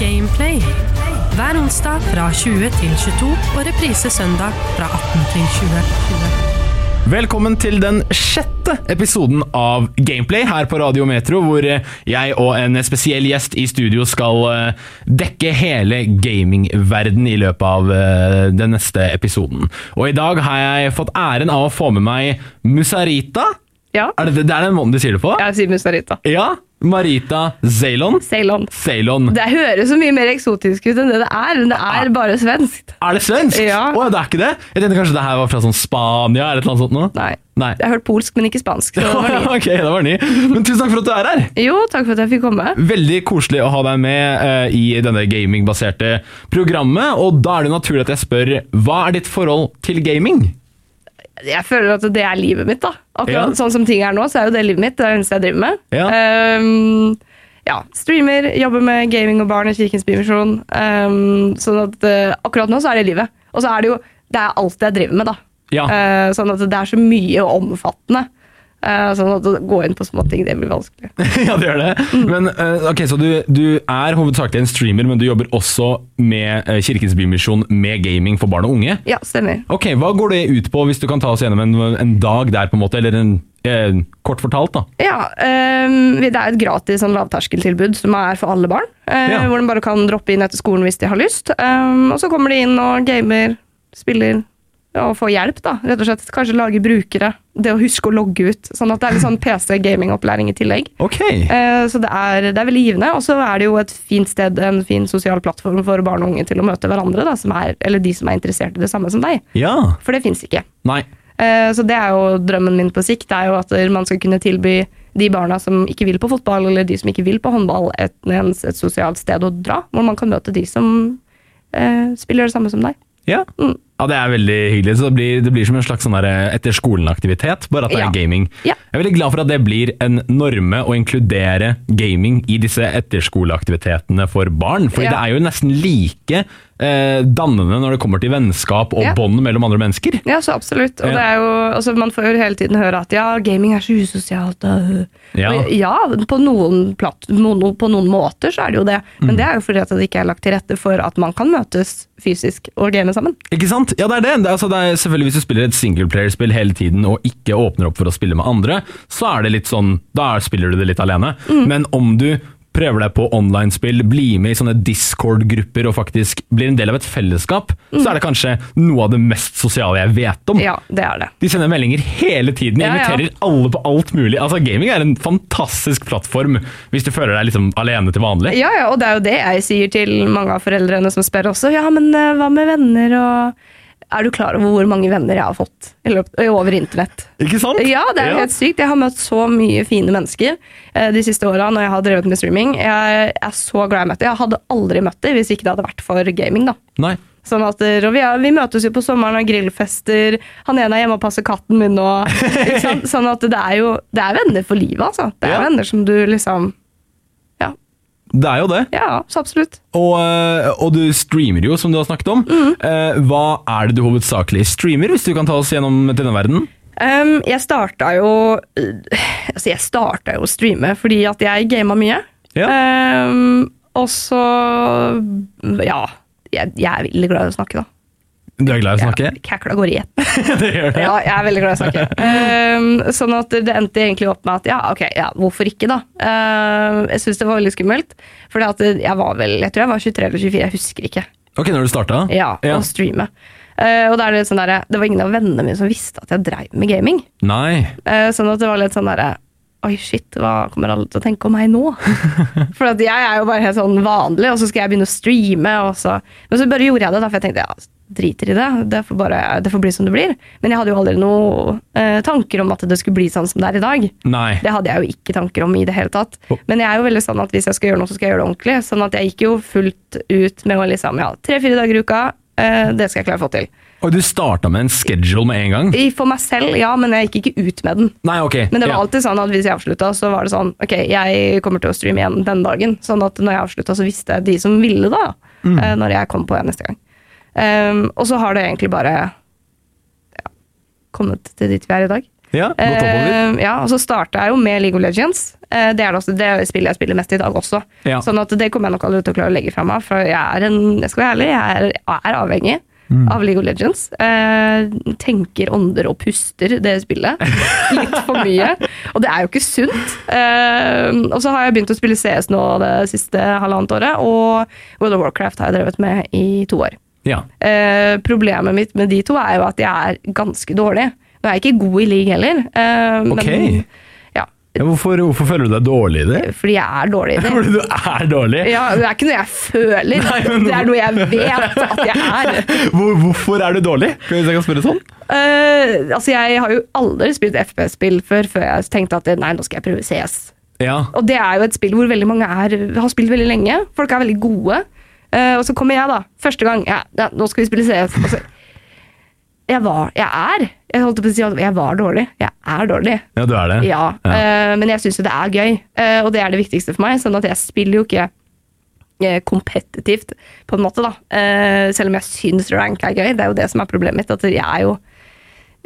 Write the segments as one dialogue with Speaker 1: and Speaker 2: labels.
Speaker 1: Gameplay. Hver onsdag fra 20 til 22 og reprise søndag fra 18 til 20.
Speaker 2: Velkommen til den sjette episoden av Gameplay her på Radio Metro, hvor eh, jeg og en spesiell gjest i studio skal eh, dekke hele gamingverden i løpet av eh, den neste episoden. Og i dag har jeg fått æren av å få med meg Musarita.
Speaker 3: Ja,
Speaker 2: Er det, det er den måten du sier det på?
Speaker 3: jeg sier Musarita.
Speaker 2: Ja. Marita Zeylon.
Speaker 3: Ceylon.
Speaker 2: Ceylon.
Speaker 3: Det høres så mye mer eksotisk ut enn det det er, men det er bare svensk.
Speaker 2: Er det svensk?
Speaker 3: Ja.
Speaker 2: Å, det er ikke det? Jeg tenkte kanskje det her var fra sånn Spania eller et eller annet sånt nå?
Speaker 3: Nei.
Speaker 2: Nei.
Speaker 3: Jeg har hørt polsk, men ikke spansk. Så det var nytt.
Speaker 2: ok, det var ny. Men tusen takk for at du er her.
Speaker 3: jo, takk for at jeg fikk komme.
Speaker 2: Veldig koselig å ha deg med eh, i denne gamingbaserte programmet, og da er det naturlig at jeg spør, hva er ditt forhold til gaming?
Speaker 3: Jeg føler at det er livet mitt, da. Akkurat
Speaker 2: Ja.
Speaker 3: sånn som ting er nå, så er jo det livet mitt. Det er det eneste jeg driver med.
Speaker 2: Ja.
Speaker 3: Ehm, ja, streamer, jobber med gaming og barn i Kirkens Bymisjon. Um, sånn at eh, akkurat nå så er det livet. Og så er det jo det er alt jeg driver med, da.
Speaker 2: Ja.
Speaker 3: Eh, sånn at det er så mye og omfattende. Eh, sånn at å gå inn på småting, det blir vanskelig.
Speaker 2: ja, det gjør det.
Speaker 3: Mm.
Speaker 2: Men eh, ok, så du, du er hovedsakelig en streamer, men du jobber også med eh, Kirkens Bymisjon med gaming for barn og unge.
Speaker 3: Ja, stemmer.
Speaker 2: Ok, hva går det ut på, hvis du kan ta oss gjennom en, en dag der, på en måte, eller en, eh, kort fortalt da?
Speaker 3: Ja, ehm, det er et gratis sånn, lavterskeltilbud som er for alle barn. eh,
Speaker 2: Ja.
Speaker 3: Hvor de bare kan droppe inn etter skolen hvis de har lyst. Ehm, og så kommer de inn og gamer, spiller og får hjelp, da. Rett og slett kanskje lage brukere. Det å huske å logge ut. Sånn at det er litt sånn PC-gamingopplæring i tillegg.
Speaker 2: Ok.
Speaker 3: Eh, så det er, det er veldig givende. Og så er det jo et fint sted, en fin sosial plattform for barn og unge til å møte hverandre, da, som er, eller de som er interessert i det samme som deg.
Speaker 2: Ja.
Speaker 3: For det fins ikke.
Speaker 2: Nei.
Speaker 3: Eh, Så det er jo drømmen min på sikt, det er jo at man skal kunne tilby de barna som ikke vil på fotball, eller de som ikke vil på håndball, et, et, et sosialt sted å dra, hvor man kan møte de som eh, spiller det samme som deg.
Speaker 2: Ja.
Speaker 3: Mm.
Speaker 2: ja, det er veldig hyggelig. Så det blir, det blir som en slags sånn der etter skolen-aktivitet, bare at det
Speaker 3: Ja.
Speaker 2: er gaming.
Speaker 3: Ja.
Speaker 2: Jeg er veldig glad for at det blir en norme å inkludere gaming i disse etterskoleaktivitetene for barn, fordi
Speaker 3: Ja.
Speaker 2: det er jo nesten like eh, dannende når det kommer til vennskap og
Speaker 3: Ja.
Speaker 2: bånd mellom andre mennesker.
Speaker 3: Ja, så absolutt. Og
Speaker 2: Ja.
Speaker 3: det er jo, altså man får jo hele tiden høre at ja, gaming er så usosialt. og-
Speaker 2: Ja.
Speaker 3: Og ja på, noen platt, mono, på noen måter så er det jo det. Men
Speaker 2: Mm.
Speaker 3: det er jo fordi at det ikke er lagt til rette for at man kan møtes fysisk og game sammen.
Speaker 2: Ikke sant? Ja, det er det. det, er, altså, det er selvfølgelig Hvis du spiller et singleplayerspill hele tiden og ikke åpner opp for å spille med andre, så er det litt sånn Da spiller du det litt alene.
Speaker 3: Mm.
Speaker 2: Men om du prøver deg på online-spill, blir med i sånne Discord-grupper og faktisk blir en del av et fellesskap, så er det kanskje noe av det mest sosiale jeg vet om.
Speaker 3: Mm. Ja, det er det.
Speaker 2: De sender meldinger hele tiden,
Speaker 3: Ja, ja.
Speaker 2: inviterer alle på alt mulig. Altså, Gaming er en fantastisk plattform hvis du føler deg liksom alene til vanlig.
Speaker 3: Ja, ja, og det er jo det jeg sier til mange av foreldrene som spør også. Ja, men eh, hva med venner og Er du klar over hvor mange venner jeg har fått i løpet, over internett?
Speaker 2: Ikke sant?
Speaker 3: Ja, det er jo helt sykt. Jeg har møtt så mye fine mennesker eh, de siste åra når jeg har drevet med streaming. Jeg er så glad jeg møtte dem. Jeg hadde aldri møtt dem hvis ikke det hadde vært for gaming, da.
Speaker 2: Nei.
Speaker 3: Sånn at, og vi, er, vi møtes jo på sommeren og grillfester. Han ene er hjemme og passer katten min og ikke sant? Sånn at det er jo det er venner for livet, altså. Det er
Speaker 2: Ja.
Speaker 3: venner som du liksom Ja.
Speaker 2: Det er jo det.
Speaker 3: Ja, så absolutt.
Speaker 2: Og, eh, og du streamer jo, som du har snakket om. Eh, Hva er det du hovedsakelig streamer, hvis du kan ta oss gjennom denne verden?
Speaker 3: Ehm, jeg starta jo Altså, jeg starta jo å streame fordi at jeg gama mye.
Speaker 2: Ja.
Speaker 3: Ehm, og så Ja. Jeg, jeg er veldig glad i å snakke, da.
Speaker 2: Du er glad i å snakke?
Speaker 3: Jeg, kækla går i ett.
Speaker 2: det gjør det.
Speaker 3: Ja, jeg er veldig glad i å snakke. Ehm, sånn at det endte egentlig opp med at ja, ok, ja, hvorfor ikke, da. Ehm, jeg syns det var veldig skummelt. For jeg var vel Jeg tror jeg var 23 eller 24, jeg husker ikke.
Speaker 2: Ok, når du starta?
Speaker 3: Ja,
Speaker 2: Ja.
Speaker 3: Å streame. Ehm, og da er det litt sånn der, Det var ingen av vennene mine som visste at jeg dreiv med gaming.
Speaker 2: Nei.
Speaker 3: Eh, Sånn at det var litt sånn derre Oi, shit, hva kommer alle til å tenke om meg nå? For at jeg er jo bare helt sånn vanlig, og så skal jeg begynne å streame. Og så. Men så bare gjorde jeg det, da, for jeg tenkte ja, driter i det. Det får, bare, det får bli som det blir. Men jeg hadde jo aldri noen eh, tanker om at det skulle bli sånn som det er i dag.
Speaker 2: Nei.
Speaker 3: Det hadde jeg jo ikke tanker om i det hele tatt.
Speaker 2: Oh.
Speaker 3: Men jeg er jo veldig sånn at hvis jeg skal gjøre noe, så skal jeg gjøre det ordentlig. Sånn at jeg gikk jo fullt ut med å liksom ja, tre-fire dager i uka, eh, det skal jeg klare å få til.
Speaker 2: Og du starta med en schedule med en gang?
Speaker 3: I- For meg selv, ja, men jeg gikk ikke ut med den.
Speaker 2: Nei, ok.
Speaker 3: Men det var
Speaker 2: ja.
Speaker 3: alltid sånn at hvis jeg avslutta, så var det sånn Ok, jeg kommer til å streame igjen den dagen. Sånn at når jeg avslutta, så visste jeg de som ville, da. eh, Når jeg kom på igjen neste gang. Ehm, Um, og så har det egentlig bare ja, kommet til dit vi er i dag.
Speaker 2: Ja, gått oppover.
Speaker 3: Eh, ja, og så starta jeg jo med League of Legends. Eh, det er det, også, det spillet jeg spiller mest i dag også.
Speaker 2: Ja.
Speaker 3: Sånn at det kommer jeg nok aldri til å klare å legge fra meg, for jeg er en, jeg skal være ærlig, jeg er, er avhengig av League of Legends. Eh, tenker, ånder og puster det spillet. Litt for mye. Og det er jo ikke sunt. Eh, og så har jeg begynt å spille CS nå det siste halvannet året, og World of Warcraft har jeg drevet med i to år.
Speaker 2: Ja.
Speaker 3: Eh, problemet mitt med de to er jo at jeg er ganske dårlig. Nå er jeg ikke god i league heller. eh,
Speaker 2: Ok.
Speaker 3: Men, ja,
Speaker 2: Ja, hvorfor, hvorfor føler du deg dårlig i det?
Speaker 3: fordi jeg er dårlig i det.
Speaker 2: Fordi du er dårlig?
Speaker 3: Ja, det er ikke noe jeg føler,
Speaker 2: Nei, men-
Speaker 3: det er noe jeg vet at jeg er.
Speaker 2: Hvor, hvorfor er du dårlig, hvis jeg kan spørre sånn?
Speaker 3: Eh, altså, jeg har jo aldri spilt FPS-spill før, før jeg tenkte at nei, nå skal jeg prøve CS.
Speaker 2: Ja.
Speaker 3: Og det er jo et spill hvor veldig mange er, har spilt veldig lenge. Folk er veldig gode. Eh, og så kommer jeg, da. Første gang. Ja, ja, nå skal vi spille CS. Og så, jeg var Jeg er Jeg holdt på å si at jeg var dårlig. Jeg er dårlig.
Speaker 2: ja, du er det.
Speaker 3: Ja.
Speaker 2: Ja.
Speaker 3: eh, men jeg syns jo det er gøy. eh, og det er det viktigste for meg. Sånn at jeg spiller jo ikke eh, kompetitivt, på en måte, da. Eh, selv om jeg syns rank er gøy. Det er jo det som er problemet mitt. At jeg er jo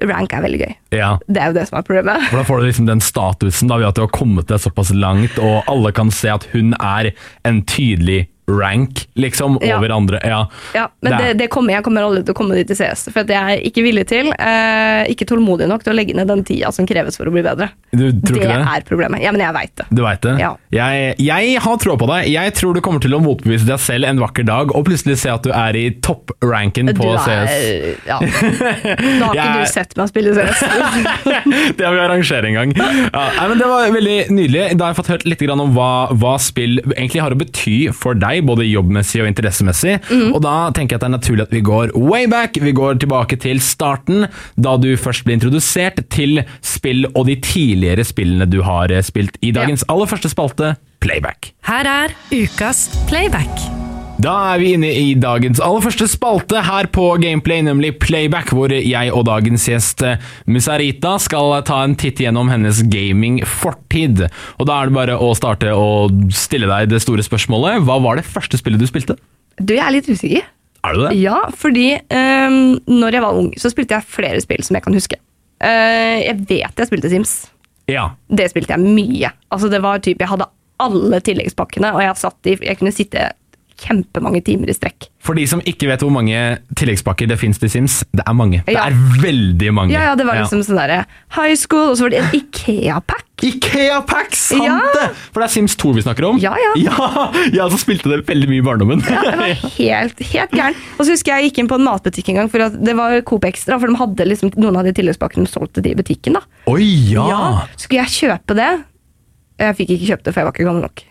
Speaker 3: Rank er veldig gøy.
Speaker 2: ja.
Speaker 3: Det er jo det som er problemet.
Speaker 2: For Da får du liksom den statusen da, ved at du har kommet deg såpass langt, og alle kan se at hun er en tydelig rank, liksom,
Speaker 3: Ja.
Speaker 2: over andre. Ja,
Speaker 3: Ja, men
Speaker 2: Det
Speaker 3: det,
Speaker 2: er-
Speaker 3: det kommer jeg kommer aldri til å komme dit i CS. For at jeg er ikke villig til, eh, ikke tålmodig nok til å legge ned den tida som kreves for å bli bedre.
Speaker 2: Du tror ikke det?
Speaker 3: er problemet. Ja, men jeg veit det.
Speaker 2: Du veit det?
Speaker 3: Ja.
Speaker 2: Jeg, jeg har tro på deg. Jeg tror du kommer til å motbevise deg selv en vakker dag, og plutselig se at du er i toppranken på
Speaker 3: du er,
Speaker 2: CS.
Speaker 3: Ja. Da har ikke
Speaker 2: Jeg-
Speaker 3: du sett meg spille CS.
Speaker 2: det har vi arrangert en gang. Ja, nei, men det var veldig nydelig. Da har jeg fått hørt litt grann om hva, hva spill egentlig har å bety for deg, både jobbmessig og interessemessig. Og da tenker jeg at det er naturlig at vi går way back. Vi går tilbake til starten, da du først ble introdusert til spill og de tidligere spillene du har eh, spilt i dagens aller første spalte, Playback.
Speaker 1: Her er ukas playback.
Speaker 2: Da er vi inne i dagens aller første spalte her på Gameplay, nemlig Playback, hvor jeg og dagens gjest eh, Musarita skal ta en titt gjennom hennes gaming-fortid. Og da er det bare å starte å stille deg det store spørsmålet. Hva var det første spillet du spilte?
Speaker 3: Du, jeg er litt usikker.
Speaker 2: Er det det?
Speaker 3: Ja, fordi um, når jeg var ung, så spilte jeg flere spill som jeg kan huske. Eh, jeg vet jeg spilte Sims.
Speaker 2: Ja.
Speaker 3: det spilte jeg mye. Altså det var typ, Jeg hadde alle tilleggspakkene, og jeg, satt i, jeg kunne sitte kjempemange timer i strekk.
Speaker 2: For de som ikke vet hvor mange tilleggspakker det fins til Sims, det er mange. Det
Speaker 3: Ja.
Speaker 2: er veldig mange.
Speaker 3: Ja, ja, Det var liksom sånn derre high school, og så var det en Ikea-pack.
Speaker 2: Ikea Pack, sant
Speaker 3: Ja.
Speaker 2: det! For det er Sims 2 vi snakker om.
Speaker 3: Ja, ja.
Speaker 2: ja jeg også spilte det veldig mye i barndommen.
Speaker 3: Jeg var helt, helt gæren. Og så husker jeg jeg gikk inn på en matbutikk en gang, for at det var Coop Extra, for de hadde liksom, noen av de tilleggspakkene de solgte de i butikken. da.
Speaker 2: Oi, ja.
Speaker 3: Så Skulle jeg kjøpe det? Jeg fikk ikke kjøpt det, for jeg var ikke gammel nok.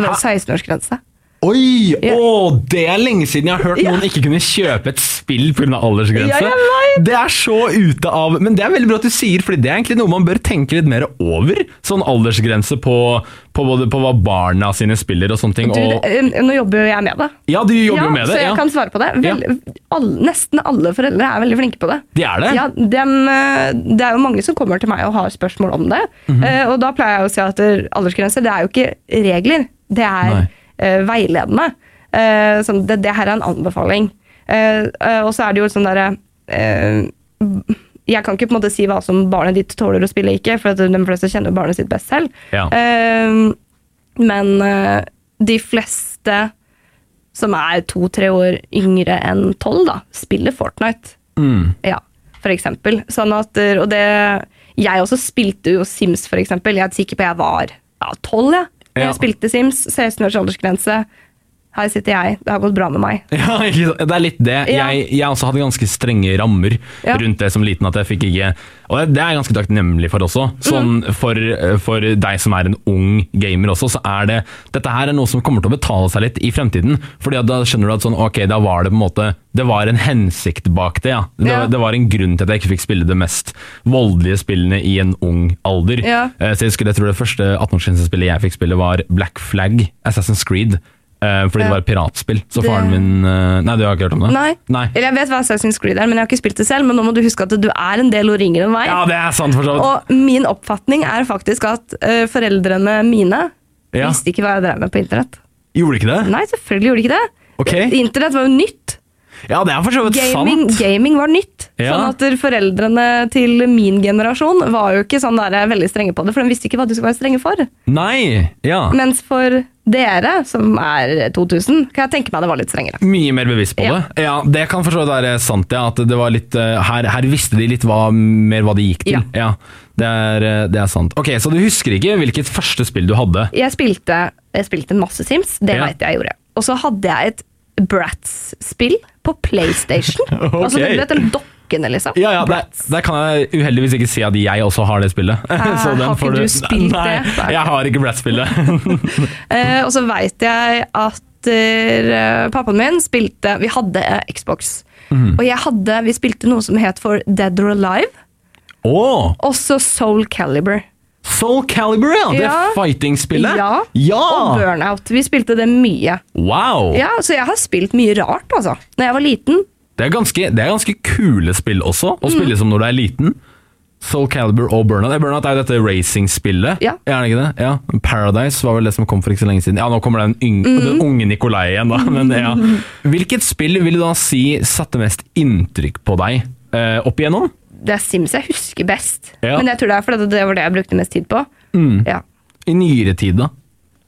Speaker 3: Det var 16-årsgrense.
Speaker 2: Oi!
Speaker 3: Ja.
Speaker 2: Å, det er lenge siden jeg har hørt
Speaker 3: Ja.
Speaker 2: noen ikke kunne kjøpe et spill pga. aldersgrense.
Speaker 3: Ja, jeg vet.
Speaker 2: det er så ute av Men det er veldig bra at du sier, for det er egentlig noe man bør tenke litt mer over. Sånn aldersgrense på, på, både, på hva barna sine spiller og sånne ting.
Speaker 3: Du,
Speaker 2: Og,
Speaker 3: det, eh, nå jobber jo jeg med det.
Speaker 2: ja, du jobber jo med
Speaker 3: Så
Speaker 2: det.
Speaker 3: jeg
Speaker 2: Ja.
Speaker 3: kan svare på det. Vel, alle, nesten alle foreldre er veldig flinke på det.
Speaker 2: De er det?
Speaker 3: Ja, dem, eh, det er jo mange som kommer til meg og har spørsmål om det.
Speaker 2: Mhm.
Speaker 3: Eh, Og da pleier jeg å si at eh, aldersgrense, det er jo ikke regler. Det
Speaker 2: Nei.
Speaker 3: er eh, veiledende. Eh, sånn, det, det her er en anbefaling. Eh, eh, og så er det jo sånn derre eh, Jeg kan ikke på en måte si hva som barnet ditt tåler å spille ikke, for at de fleste kjenner jo barnet sitt best selv.
Speaker 2: Ja.
Speaker 3: Eh, men eh, de fleste som er to-tre år yngre enn tolv, da, spiller Fortnite.
Speaker 2: Mm.
Speaker 3: Ja, for eksempel. Sånn at, og det, jeg også spilte jo Sims, for eksempel. Jeg er sikker på jeg var ja, tolv, jeg. da
Speaker 2: Ja.
Speaker 3: Jeg spilte Sims, 16 års aldersgrense. Her sitter jeg, det har gått bra med meg.
Speaker 2: Ja, ikke sant? det er litt det.
Speaker 3: Ja.
Speaker 2: Jeg, jeg også hadde ganske strenge rammer
Speaker 3: Ja.
Speaker 2: rundt det som liten. at jeg fikk ikke, Og det- det er jeg ganske takknemlig for også. Sånn
Speaker 3: Mm.
Speaker 2: for, eh, for deg som er en ung gamer også, så er det Dette her er noe som kommer til å betale seg litt i fremtiden. Fordi at da skjønner du at sånn, ok, da var det på en måte Det var en hensikt bak det, ja. Det,
Speaker 3: Ja.
Speaker 2: det var en grunn til at jeg ikke fikk spille det mest voldelige spillene i en ung alder.
Speaker 3: Ja.
Speaker 2: Eh, Så jeg husker jeg tror det første 18-årsgrensespillet jeg fikk spille, var Black Flag, Assassin's Creed. eh, Fordi det
Speaker 3: Ja.
Speaker 2: var et piratspill. Så
Speaker 3: Det-
Speaker 2: faren min Mm, eh, Nei, du har ikke hørt om det?
Speaker 3: Nei. Eller jeg vet hva Assassin's Creed er, men jeg har ikke spilt det selv. Men nå må du huske at du er en del år yngre enn meg.
Speaker 2: Ja, det er sant, for så vidt.
Speaker 3: Og min oppfatning er faktisk at eh, foreldrene mine
Speaker 2: Ja.
Speaker 3: visste ikke hva jeg drev med på internett.
Speaker 2: Gjorde du ikke det?
Speaker 3: Nei, selvfølgelig gjorde de ikke det.
Speaker 2: Ok.
Speaker 3: Internett var jo nytt.
Speaker 2: Ja, det er for så vidt
Speaker 3: Gaming,
Speaker 2: sant.
Speaker 3: gaming var nytt.
Speaker 2: Ja.
Speaker 3: Sånn at foreldrene til min generasjon var jo ikke sånn der, veldig strenge på det, for de visste ikke hva du skulle være strenge for.
Speaker 2: Nei! Ja.
Speaker 3: Mens for dere, som er 2000, kan jeg tenke meg det var litt strengere.
Speaker 2: Mye mer bevisst på
Speaker 3: Ja.
Speaker 2: det. Ja, Det kan for så vidt være sant, ja. At det var litt eh, Her, her visste de litt hva, mer hva de gikk til.
Speaker 3: Ja.
Speaker 2: Ja. det, er, eh, det er sant. Ok, Så du husker ikke hvilket første spill du hadde?
Speaker 3: Jeg spilte, jeg spilte en masse Sims, det
Speaker 2: Ja.
Speaker 3: vet jeg jeg gjorde. Og så hadde jeg et Bratz-spill på PlayStation. Altså,
Speaker 2: Ok.
Speaker 3: du vet, den dokkene, liksom.
Speaker 2: Ja, ja, der, der kan jeg uheldigvis ikke si at jeg også har det spillet. Så den
Speaker 3: Ah, har
Speaker 2: får
Speaker 3: ikke du spilt
Speaker 2: Nei,
Speaker 3: det? Nei.
Speaker 2: jeg har ikke Bratz-spillet.
Speaker 3: Eh, og så veit jeg at eh, pappaen min spilte Vi hadde eh, Xbox.
Speaker 2: Mhm.
Speaker 3: Og jeg hadde, vi spilte noe som het for Dead or Alive.
Speaker 2: Åh,
Speaker 3: Også Soul Caliber.
Speaker 2: Soul Calibur, ja! Det
Speaker 3: Ja.
Speaker 2: fighting-spillet?
Speaker 3: Ja. Og
Speaker 2: ja.
Speaker 3: Burnout. Vi spilte det mye.
Speaker 2: Wow!
Speaker 3: Ja, Så jeg har spilt mye rart, altså. Når jeg var liten.
Speaker 2: Det, er ganske, det er ganske kule spill også, å
Speaker 3: Mm.
Speaker 2: spille som når du er liten. Soul Calibur og Burnout. Eh, Burnout er jo dette racing-spillet.
Speaker 3: Ja.
Speaker 2: Er det ikke det? Ja. Paradise var vel det som kom for ikke så lenge siden. Ja, nå kommer den, yng
Speaker 3: Mm.
Speaker 2: den unge Nikolai igjen, da. Men, ja. Hvilket spill vil du da si satte mest inntrykk på deg eh, opp igjennom?
Speaker 3: Det er Sims jeg husker best.
Speaker 2: Ja.
Speaker 3: Men jeg tror det er fordi det var det jeg brukte mest tid på. Ja.
Speaker 2: I nyere tid, da?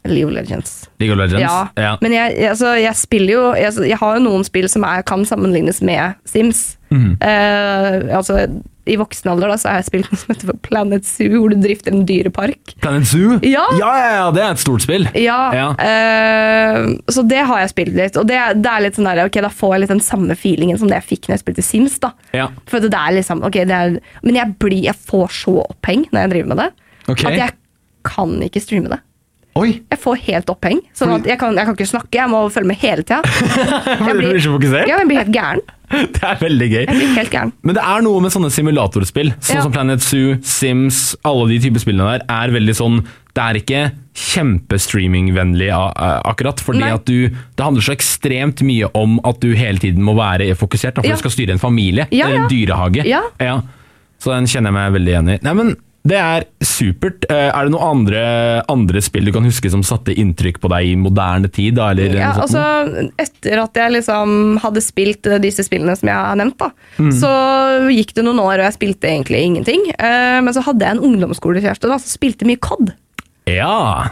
Speaker 3: League of Legends.
Speaker 2: League of Legends?
Speaker 3: Ja. Men jeg, jeg- altså, jeg spiller jo jeg, altså, jeg har jo noen spill som er, kan sammenlignes med Sims.
Speaker 2: Mm.
Speaker 3: Eh, altså, I voksen alder da, så har jeg spilt noe som heter for Planet Zoo, hvor du drifter en dyrepark.
Speaker 2: Planet Zoo?
Speaker 3: Ja.
Speaker 2: ja, ja, ja, det er et stort spill.
Speaker 3: Ja, eh, Så det har jeg spilt litt. Og det, er- det er litt sånn der, ok, Da får jeg litt den samme feelingen som det jeg fikk når jeg spilte Sims. da
Speaker 2: Ja.
Speaker 3: For det er liksom, ok, det er, Men jeg, blir, jeg får så oppheng når jeg driver med det,
Speaker 2: Ok.
Speaker 3: at jeg kan ikke streame det.
Speaker 2: Oi!
Speaker 3: Jeg får helt oppheng. Sånn at jeg kan, jeg kan ikke snakke, jeg må følge med hele tida.
Speaker 2: Jeg
Speaker 3: blir-
Speaker 2: blir så fokusert.
Speaker 3: Ja, jeg blir helt gæren.
Speaker 2: Det er veldig gøy.
Speaker 3: Jeg blir helt gæren.
Speaker 2: Men det er noe med sånne simulatorspill, sånn
Speaker 3: Ja.
Speaker 2: som Planet Zoo, Sims, alle de typer spillene der, er veldig sånn Det er ikke kjempestreamingvennlig a- a- akkurat, fordi
Speaker 3: Nei.
Speaker 2: at du Det handler så ekstremt mye om at du hele tiden må være fokusert, da, for
Speaker 3: Ja.
Speaker 2: du skal styre en familie
Speaker 3: Ja,
Speaker 2: eller en
Speaker 3: ja.
Speaker 2: dyrehage.
Speaker 3: Ja.
Speaker 2: Så den kjenner jeg meg veldig igjen i. Nei, men det er supert. Eh, Er det noen andre, andre spill du kan huske som satte inntrykk på deg i moderne tid, da? Eller sånn-
Speaker 3: Ja,
Speaker 2: noe sånt?
Speaker 3: altså, etter at jeg liksom hadde spilt eh, disse spillene som jeg har nevnt, da,
Speaker 2: Mm.
Speaker 3: så gikk det noen år, og jeg spilte egentlig ingenting. Eh, men så hadde jeg en ungdomsskolekjæreste da, som spilte mye COD.
Speaker 2: ja.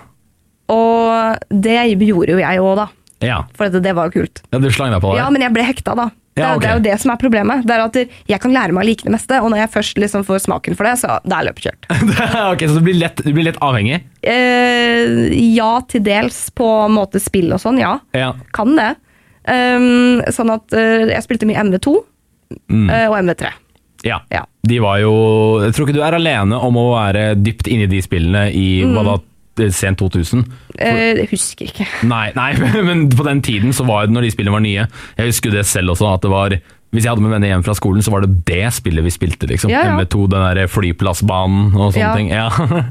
Speaker 3: Og det gjorde jo jeg òg, da.
Speaker 2: ja.
Speaker 3: For det, det var jo kult.
Speaker 2: Ja, du slang deg på det?
Speaker 3: Ja, men jeg ble hekta, da. Det,
Speaker 2: Ja,
Speaker 3: er-
Speaker 2: ok.
Speaker 3: det er jo det som er problemet. Det er at Jeg kan lære meg å like det meste, og når jeg først liksom får smaken for det, så da er løpet kjørt.
Speaker 2: ok, Så du blir lett, du blir lett avhengig?
Speaker 3: Eh, ja, til dels på en måte spill og sånn, ja.
Speaker 2: Ja.
Speaker 3: Kan det. Um, sånn at eh, jeg spilte mye MV2 eh, og MV3.
Speaker 2: Ja.
Speaker 3: Ja.
Speaker 2: De var jo Jeg tror ikke du er alene om å være dypt inni de spillene i
Speaker 3: Mm.
Speaker 2: hva da, sent 2000.
Speaker 3: Eh, jeg husker ikke.
Speaker 2: Nei, nei, men på den tiden så var det når de spillene var nye. Jeg husker jo det selv også, at det var Hvis jeg hadde med venner hjem fra skolen, så var det det spillet vi spilte, liksom.
Speaker 3: Ja, ja.
Speaker 2: ME2, den der flyplassbanen og sånne
Speaker 3: Ja.
Speaker 2: ting. Ja.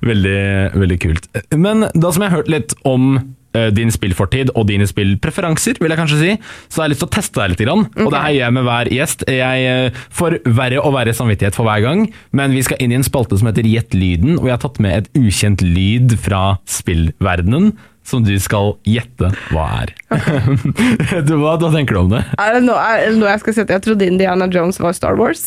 Speaker 2: Veldig, veldig kult. Men da som jeg har hørt litt om eh, din spillfortid og dine spillpreferanser, vil jeg kanskje si, så har jeg lyst til å teste deg litt. Grann. Og det her gjør jeg med hver gjest. Jeg eh, får verre og verre samvittighet for hver gang, men vi skal inn i en spalte som heter Gjett lyden, og jeg har tatt med et ukjent lyd fra spillverdenen, som du skal gjette hva er. du, hva, hva tenker du om det?
Speaker 3: Er det noe, er det noe jeg skal si at jeg trodde Indiana Jones var Star Wars?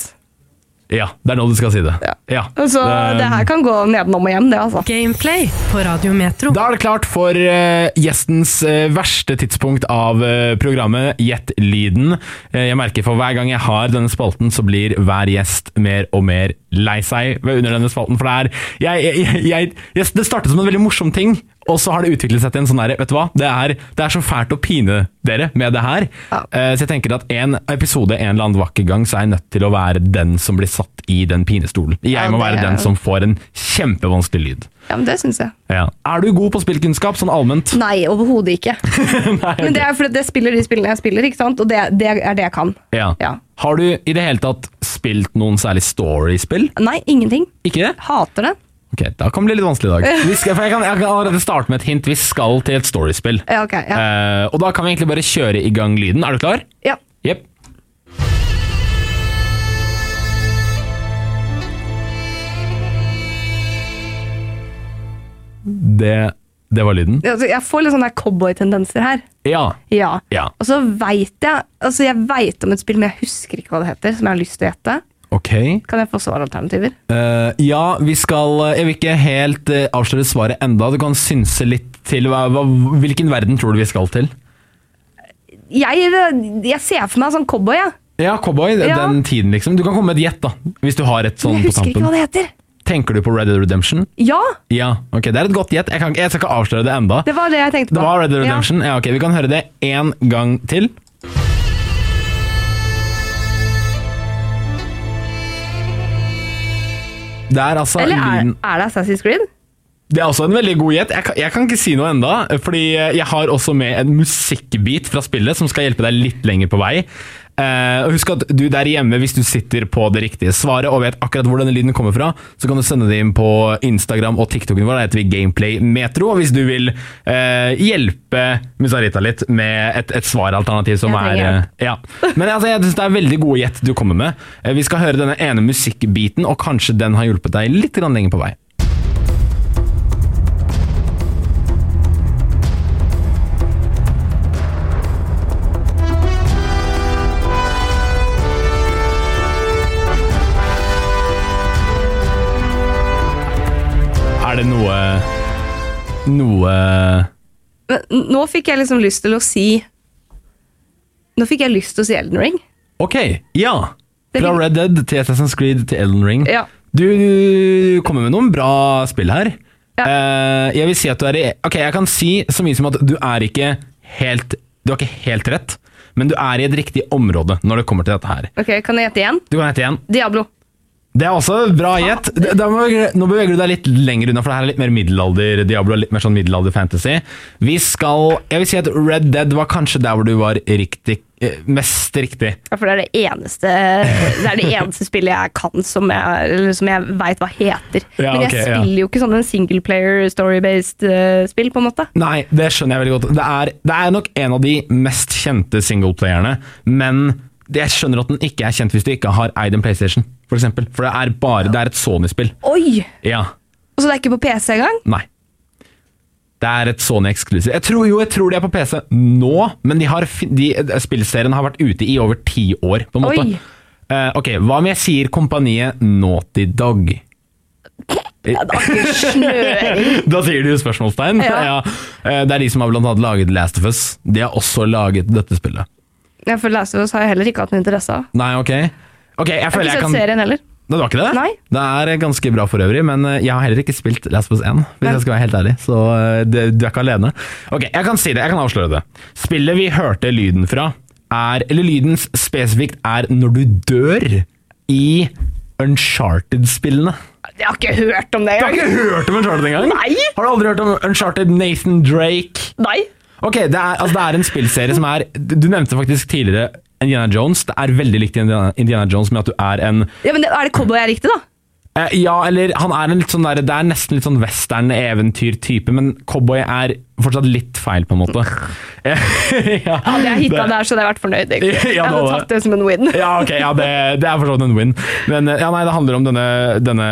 Speaker 2: Ja, det er nå du skal si det.
Speaker 3: Ja.
Speaker 2: Ja.
Speaker 3: Så det, her kan gå nedenom og hjem, det, altså.
Speaker 1: Gameplay på Radio Metro.
Speaker 2: Da er det klart for eh, gjestens eh, verste tidspunkt av eh, programmet, Gjett lyden. Eh, jeg merker for hver gang jeg har denne spalten, så blir hver gjest mer og mer lei seg ved- under denne spalten. For det er jeg, jeg, jeg, jeg, yes, Det startet som en veldig morsom ting, og så har det utviklet seg til en sånn derre Vet du hva, det er, det er så fælt å pine dere med det her.
Speaker 3: Ja.
Speaker 2: Eh, så jeg tenker at en episode en eller annen vakker gang, så er jeg nødt til å være den som blir satt i den pinestolen. Jeg
Speaker 3: Ja,
Speaker 2: må
Speaker 3: det-
Speaker 2: være den som får en kjempevanskelig lyd.
Speaker 3: Ja, men Det syns jeg.
Speaker 2: Ja. Er du god på spillkunnskap sånn allment?
Speaker 3: Nei, overhodet ikke.
Speaker 2: Nei,
Speaker 3: Men det er fordi det spiller de spillene jeg spiller, ikke sant? og det, det er det jeg kan.
Speaker 2: ja.
Speaker 3: Ja.
Speaker 2: Har du i det hele tatt spilt noen særlig story-spill?
Speaker 3: Nei, ingenting.
Speaker 2: Ikke det?
Speaker 3: Hater det.
Speaker 2: Ok, da kan det bli litt vanskelig i dag. Vi skal, for jeg, kan, jeg kan allerede starte med et hint. Vi skal til et story-spill.
Speaker 3: Ja, ok. Ja.
Speaker 2: Eh, og da kan vi egentlig bare kjøre i gang lyden. Er du klar?
Speaker 3: ja.
Speaker 2: Jepp. Det Det var lyden?
Speaker 3: Altså, Jeg får litt sånne der cowboytendenser her.
Speaker 2: Ja.
Speaker 3: Ja.
Speaker 2: Ja.
Speaker 3: Og så veit jeg altså jeg vet om et spill, men jeg husker ikke hva det heter, som jeg har lyst til å gjette.
Speaker 2: Ok.
Speaker 3: Kan jeg få svaralternativer?
Speaker 2: Eh, ja, vi skal eh, Jeg vil ikke helt eh, avsløre svaret enda. Du kan synse litt til hva, hva, Hvilken verden tror du vi skal til?
Speaker 3: Jeg, jeg ser for meg sånn cowboy, jeg.
Speaker 2: Ja, cowboy.
Speaker 3: Ja.
Speaker 2: Den tiden, liksom. Du kan komme med et gjett, da. Hvis du har et sånn
Speaker 3: Men
Speaker 2: på
Speaker 3: jeg husker ikke
Speaker 2: tampen.
Speaker 3: hva det heter.
Speaker 2: Tenker du på Red Dead Redemption?
Speaker 3: Ja,
Speaker 2: Ja, ok, det er et godt gjett. Jeg, kan ikke- jeg skal ikke avsløre det enda.
Speaker 3: det var det jeg tenkte på.
Speaker 2: Det var Red Dead
Speaker 3: Ja.
Speaker 2: Redemption. Ja, ok, Vi kan høre det én gang til. Det er altså
Speaker 3: Eller er,
Speaker 2: lyden
Speaker 3: er det Assassin's Creed?
Speaker 2: Det er også en veldig god gjett. Jeg, kan- jeg kan ikke si noe enda, fordi jeg har også med en musikkbit fra spillet som skal hjelpe deg litt lenger på vei. Eh, og husk at du der hjemme, hvis du sitter på det riktige svaret og vet akkurat hvor denne lyden kommer fra, så kan du sende det inn på Instagram og TikToken vår. Der heter vi Gameplay Metro. Og hvis du vil eh, hjelpe Musarita litt med et, et svaralternativ som
Speaker 3: Jeg trenger
Speaker 2: er eh, ja. Men altså, jeg synes det er veldig gode gjett du kommer med. Eh, vi skal høre denne ene musikkbiten, og kanskje den har hjulpet deg litt grann lenger på vei. Er det noe Noe
Speaker 3: Men n- nå fikk jeg liksom lyst til å si Nå fikk jeg lyst til å si Elden Ring.
Speaker 2: Ok, ja!
Speaker 3: Det
Speaker 2: Fra
Speaker 3: vil-
Speaker 2: Red Dead til Assassin's Creed til Elden Ring.
Speaker 3: Ja.
Speaker 2: Du, du kommer med noen bra spill her.
Speaker 3: Ja.
Speaker 2: Eh, jeg vil si at du er i Ok, jeg kan si så mye som at du er ikke helt Du har ikke helt rett, men du er i et riktig område når det kommer til dette her.
Speaker 3: Ok, Kan jeg gjette igjen?
Speaker 2: Du kan hete igjen.
Speaker 3: Diablo.
Speaker 2: Det er også bra gjett. Da- da må vi- Nå beveger du deg litt lenger unna, for det her er litt mer middelalder Diablo, litt mer sånn middelalder fantasy. Vi skal Jeg vil si at Red Dead var kanskje der hvor du var riktig eh, Mest riktig.
Speaker 3: Ja, for det er det eneste Det er det eneste spillet jeg kan som jeg, eller som jeg veit hva heter.
Speaker 2: Ja,
Speaker 3: Men jeg
Speaker 2: ok, ja.
Speaker 3: spiller jo ikke sånn sånne singleplayer, story-based eh, spill, på en måte.
Speaker 2: Nei, det skjønner jeg veldig godt. Det er, det er nok en av de mest kjente singleplayerne, men det- jeg skjønner at den ikke er kjent hvis du ikke har eid en PlayStation, for eksempel. For det er bare Det er et Sony-spill.
Speaker 3: Oi!
Speaker 2: Ja.
Speaker 3: Og så det er ikke på PC engang?
Speaker 2: Nei. Det er et Sony eksklusiv. Jeg tror, jo, jeg tror de er på PC nå, men de har, fin- de, eh, spillserien har vært ute i over ti år, på en måte.
Speaker 3: Oi.
Speaker 2: Eh, ok, hva om jeg sier kompaniet Naughty Dog?
Speaker 3: Snøring.
Speaker 2: Da sier du spørsmålstegn.
Speaker 3: Ja.
Speaker 2: Eh, det er de som har blant annet laget Last of Us. De har også laget dette spillet.
Speaker 3: Ja, for Last of Us har jeg heller ikke hatt noe interesse av.
Speaker 2: Nei, ok. Ok, jeg
Speaker 3: Jeg har
Speaker 2: føler
Speaker 3: ikke
Speaker 2: jeg
Speaker 3: sett
Speaker 2: kan...
Speaker 3: serien heller.
Speaker 2: Nei, det var ikke det?
Speaker 3: Nei.
Speaker 2: Det er eh, ganske bra for øvrig, men eh, jeg har heller ikke spilt Last of Us 1, hvis
Speaker 3: Nei.
Speaker 2: jeg skal være helt ærlig, så eh, det, du er ikke alene. Ok, jeg kan si det, jeg kan avsløre det. Spillet vi hørte lyden fra, er, eller lyden spesifikt er når du dør i Uncharted-spillene.
Speaker 3: Jeg har ikke hørt om det
Speaker 2: Du har
Speaker 3: engang!
Speaker 2: ikke hørt om Uncharted engang?
Speaker 3: Nei.
Speaker 2: Har du aldri hørt om Uncharted Nathan Drake?
Speaker 3: Nei.
Speaker 2: Ok, det er, altså det er en spillserie som er Du nevnte faktisk tidligere Indiana Jones. Det er veldig likt Indiana, Indiana Jones med at du er en
Speaker 3: Ja, men det, er det cowboy jeg er riktig, da?
Speaker 2: Eh, ja, eller han er en litt sånn der, Det er nesten litt sånn western-eventyr-type, men cowboy er fortsatt litt feil, på en måte. ja,
Speaker 3: Hadde jeg hitta
Speaker 2: det-
Speaker 3: der, så hadde jeg vært fornøyd. egentlig.
Speaker 2: Ja,
Speaker 3: Jeg hadde
Speaker 2: nå-
Speaker 3: tatt det som en win.
Speaker 2: Ja, ok, ja, det, det er for så vidt en win. Men eh, ja, nei, det handler om denne, denne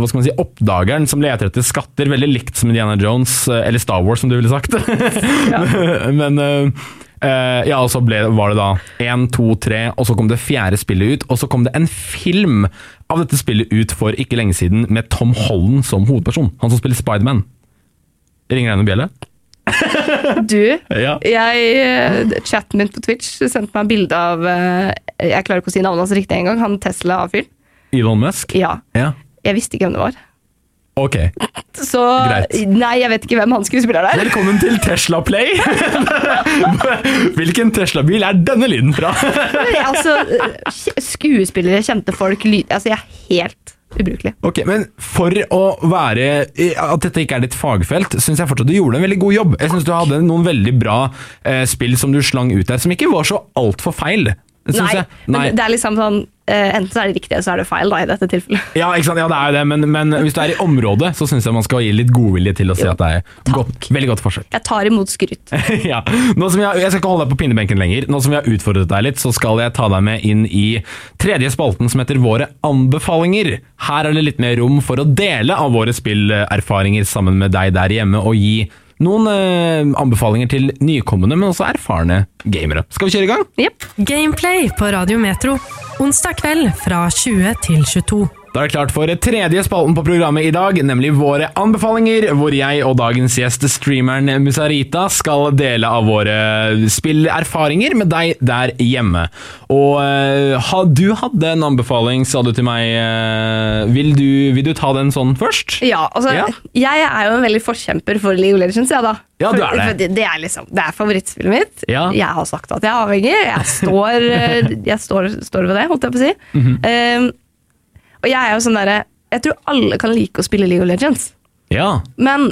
Speaker 2: hva skal man si, oppdageren som leter etter skatter, veldig likt som Indiana Jones, eh, eller Star Wars, som du ville sagt. Men eh, eh, ja, og så ble, var det da én, to, tre, og så kom det fjerde spillet ut. Og så kom det en film av dette spillet ut for ikke lenge siden med Tom Holland som hovedperson. Han som spiller Spiderman. Ringer det noen bjelle?
Speaker 3: Du,
Speaker 2: Ja.
Speaker 3: jeg, eh, chatten min på Twitch sendte meg bilde av eh, Jeg klarer ikke å si navnet hans riktig engang. Han Tesla-fyren.
Speaker 2: Elon Musk?
Speaker 3: Ja.
Speaker 2: Ja.
Speaker 3: Jeg visste ikke hvem det var.
Speaker 2: Ok.
Speaker 3: Så
Speaker 2: Greit.
Speaker 3: Nei, jeg vet ikke hvem han skuespiller der.
Speaker 2: Velkommen til Tesla Play! Hvilken Tesla-bil er denne lyden fra?
Speaker 3: altså, eh, kj- skuespillere, kjente folk, lyd Altså, jeg er helt ubrukelig.
Speaker 2: Ok, men For å være at dette ikke er ditt fagfelt, syns jeg fortsatt du gjorde en veldig god jobb. Jeg syns du hadde noen veldig bra eh, spill som du slang ut der, som ikke var så altfor feil. synes
Speaker 3: Nei,
Speaker 2: jeg. Nei.
Speaker 3: Men det er liksom sånn eh, enten så er det riktig, eller så er det feil, da, i dette tilfellet.
Speaker 2: Ja, ikke sant? ja, det er jo det, men, men hvis du er i området, så syns jeg man skal gi litt godvilje til å si
Speaker 3: Jo,
Speaker 2: at det er godt, veldig godt forsøk.
Speaker 3: Jeg tar imot skryt.
Speaker 2: ja. Nå som jeg, jeg skal ikke holde deg på pinnebenken lenger. Nå som vi har utfordret deg litt, så skal jeg ta deg med inn i tredje spalten som heter Våre anbefalinger. Her er det litt mer rom for å dele av våre spillerfaringer sammen med deg der hjemme, og gi noen eh, anbefalinger til nykommende, men også erfarne gamere. Skal vi kjøre i gang?
Speaker 3: Jepp.
Speaker 1: Gameplay på Radio Metro. Onsdag kveld fra 20 til 22.
Speaker 2: Da er det klart for tredje spalten på programmet i dag, nemlig Våre anbefalinger, hvor jeg og dagens gjest, streameren Musarita, skal dele av våre spillerfaringer med deg der hjemme. Og eh, ha, du hadde en anbefaling, sa du til meg. eh, vil, du, vil du ta den sånn først?
Speaker 3: Ja, altså,
Speaker 2: Ja.
Speaker 3: jeg er jo en veldig forkjemper for League of Legends, jeg, da.
Speaker 2: Ja, du er det.
Speaker 3: For, for det, det er liksom, det er favorittspillet mitt.
Speaker 2: Ja.
Speaker 3: Jeg har sagt at jeg er avhengig. Jeg står, eh, jeg står, står ved det, holdt jeg på å si.
Speaker 2: Mhm.
Speaker 3: um, og jeg er jo sånn derre Jeg tror alle kan like å spille League of Legends.
Speaker 2: Ja.
Speaker 3: Men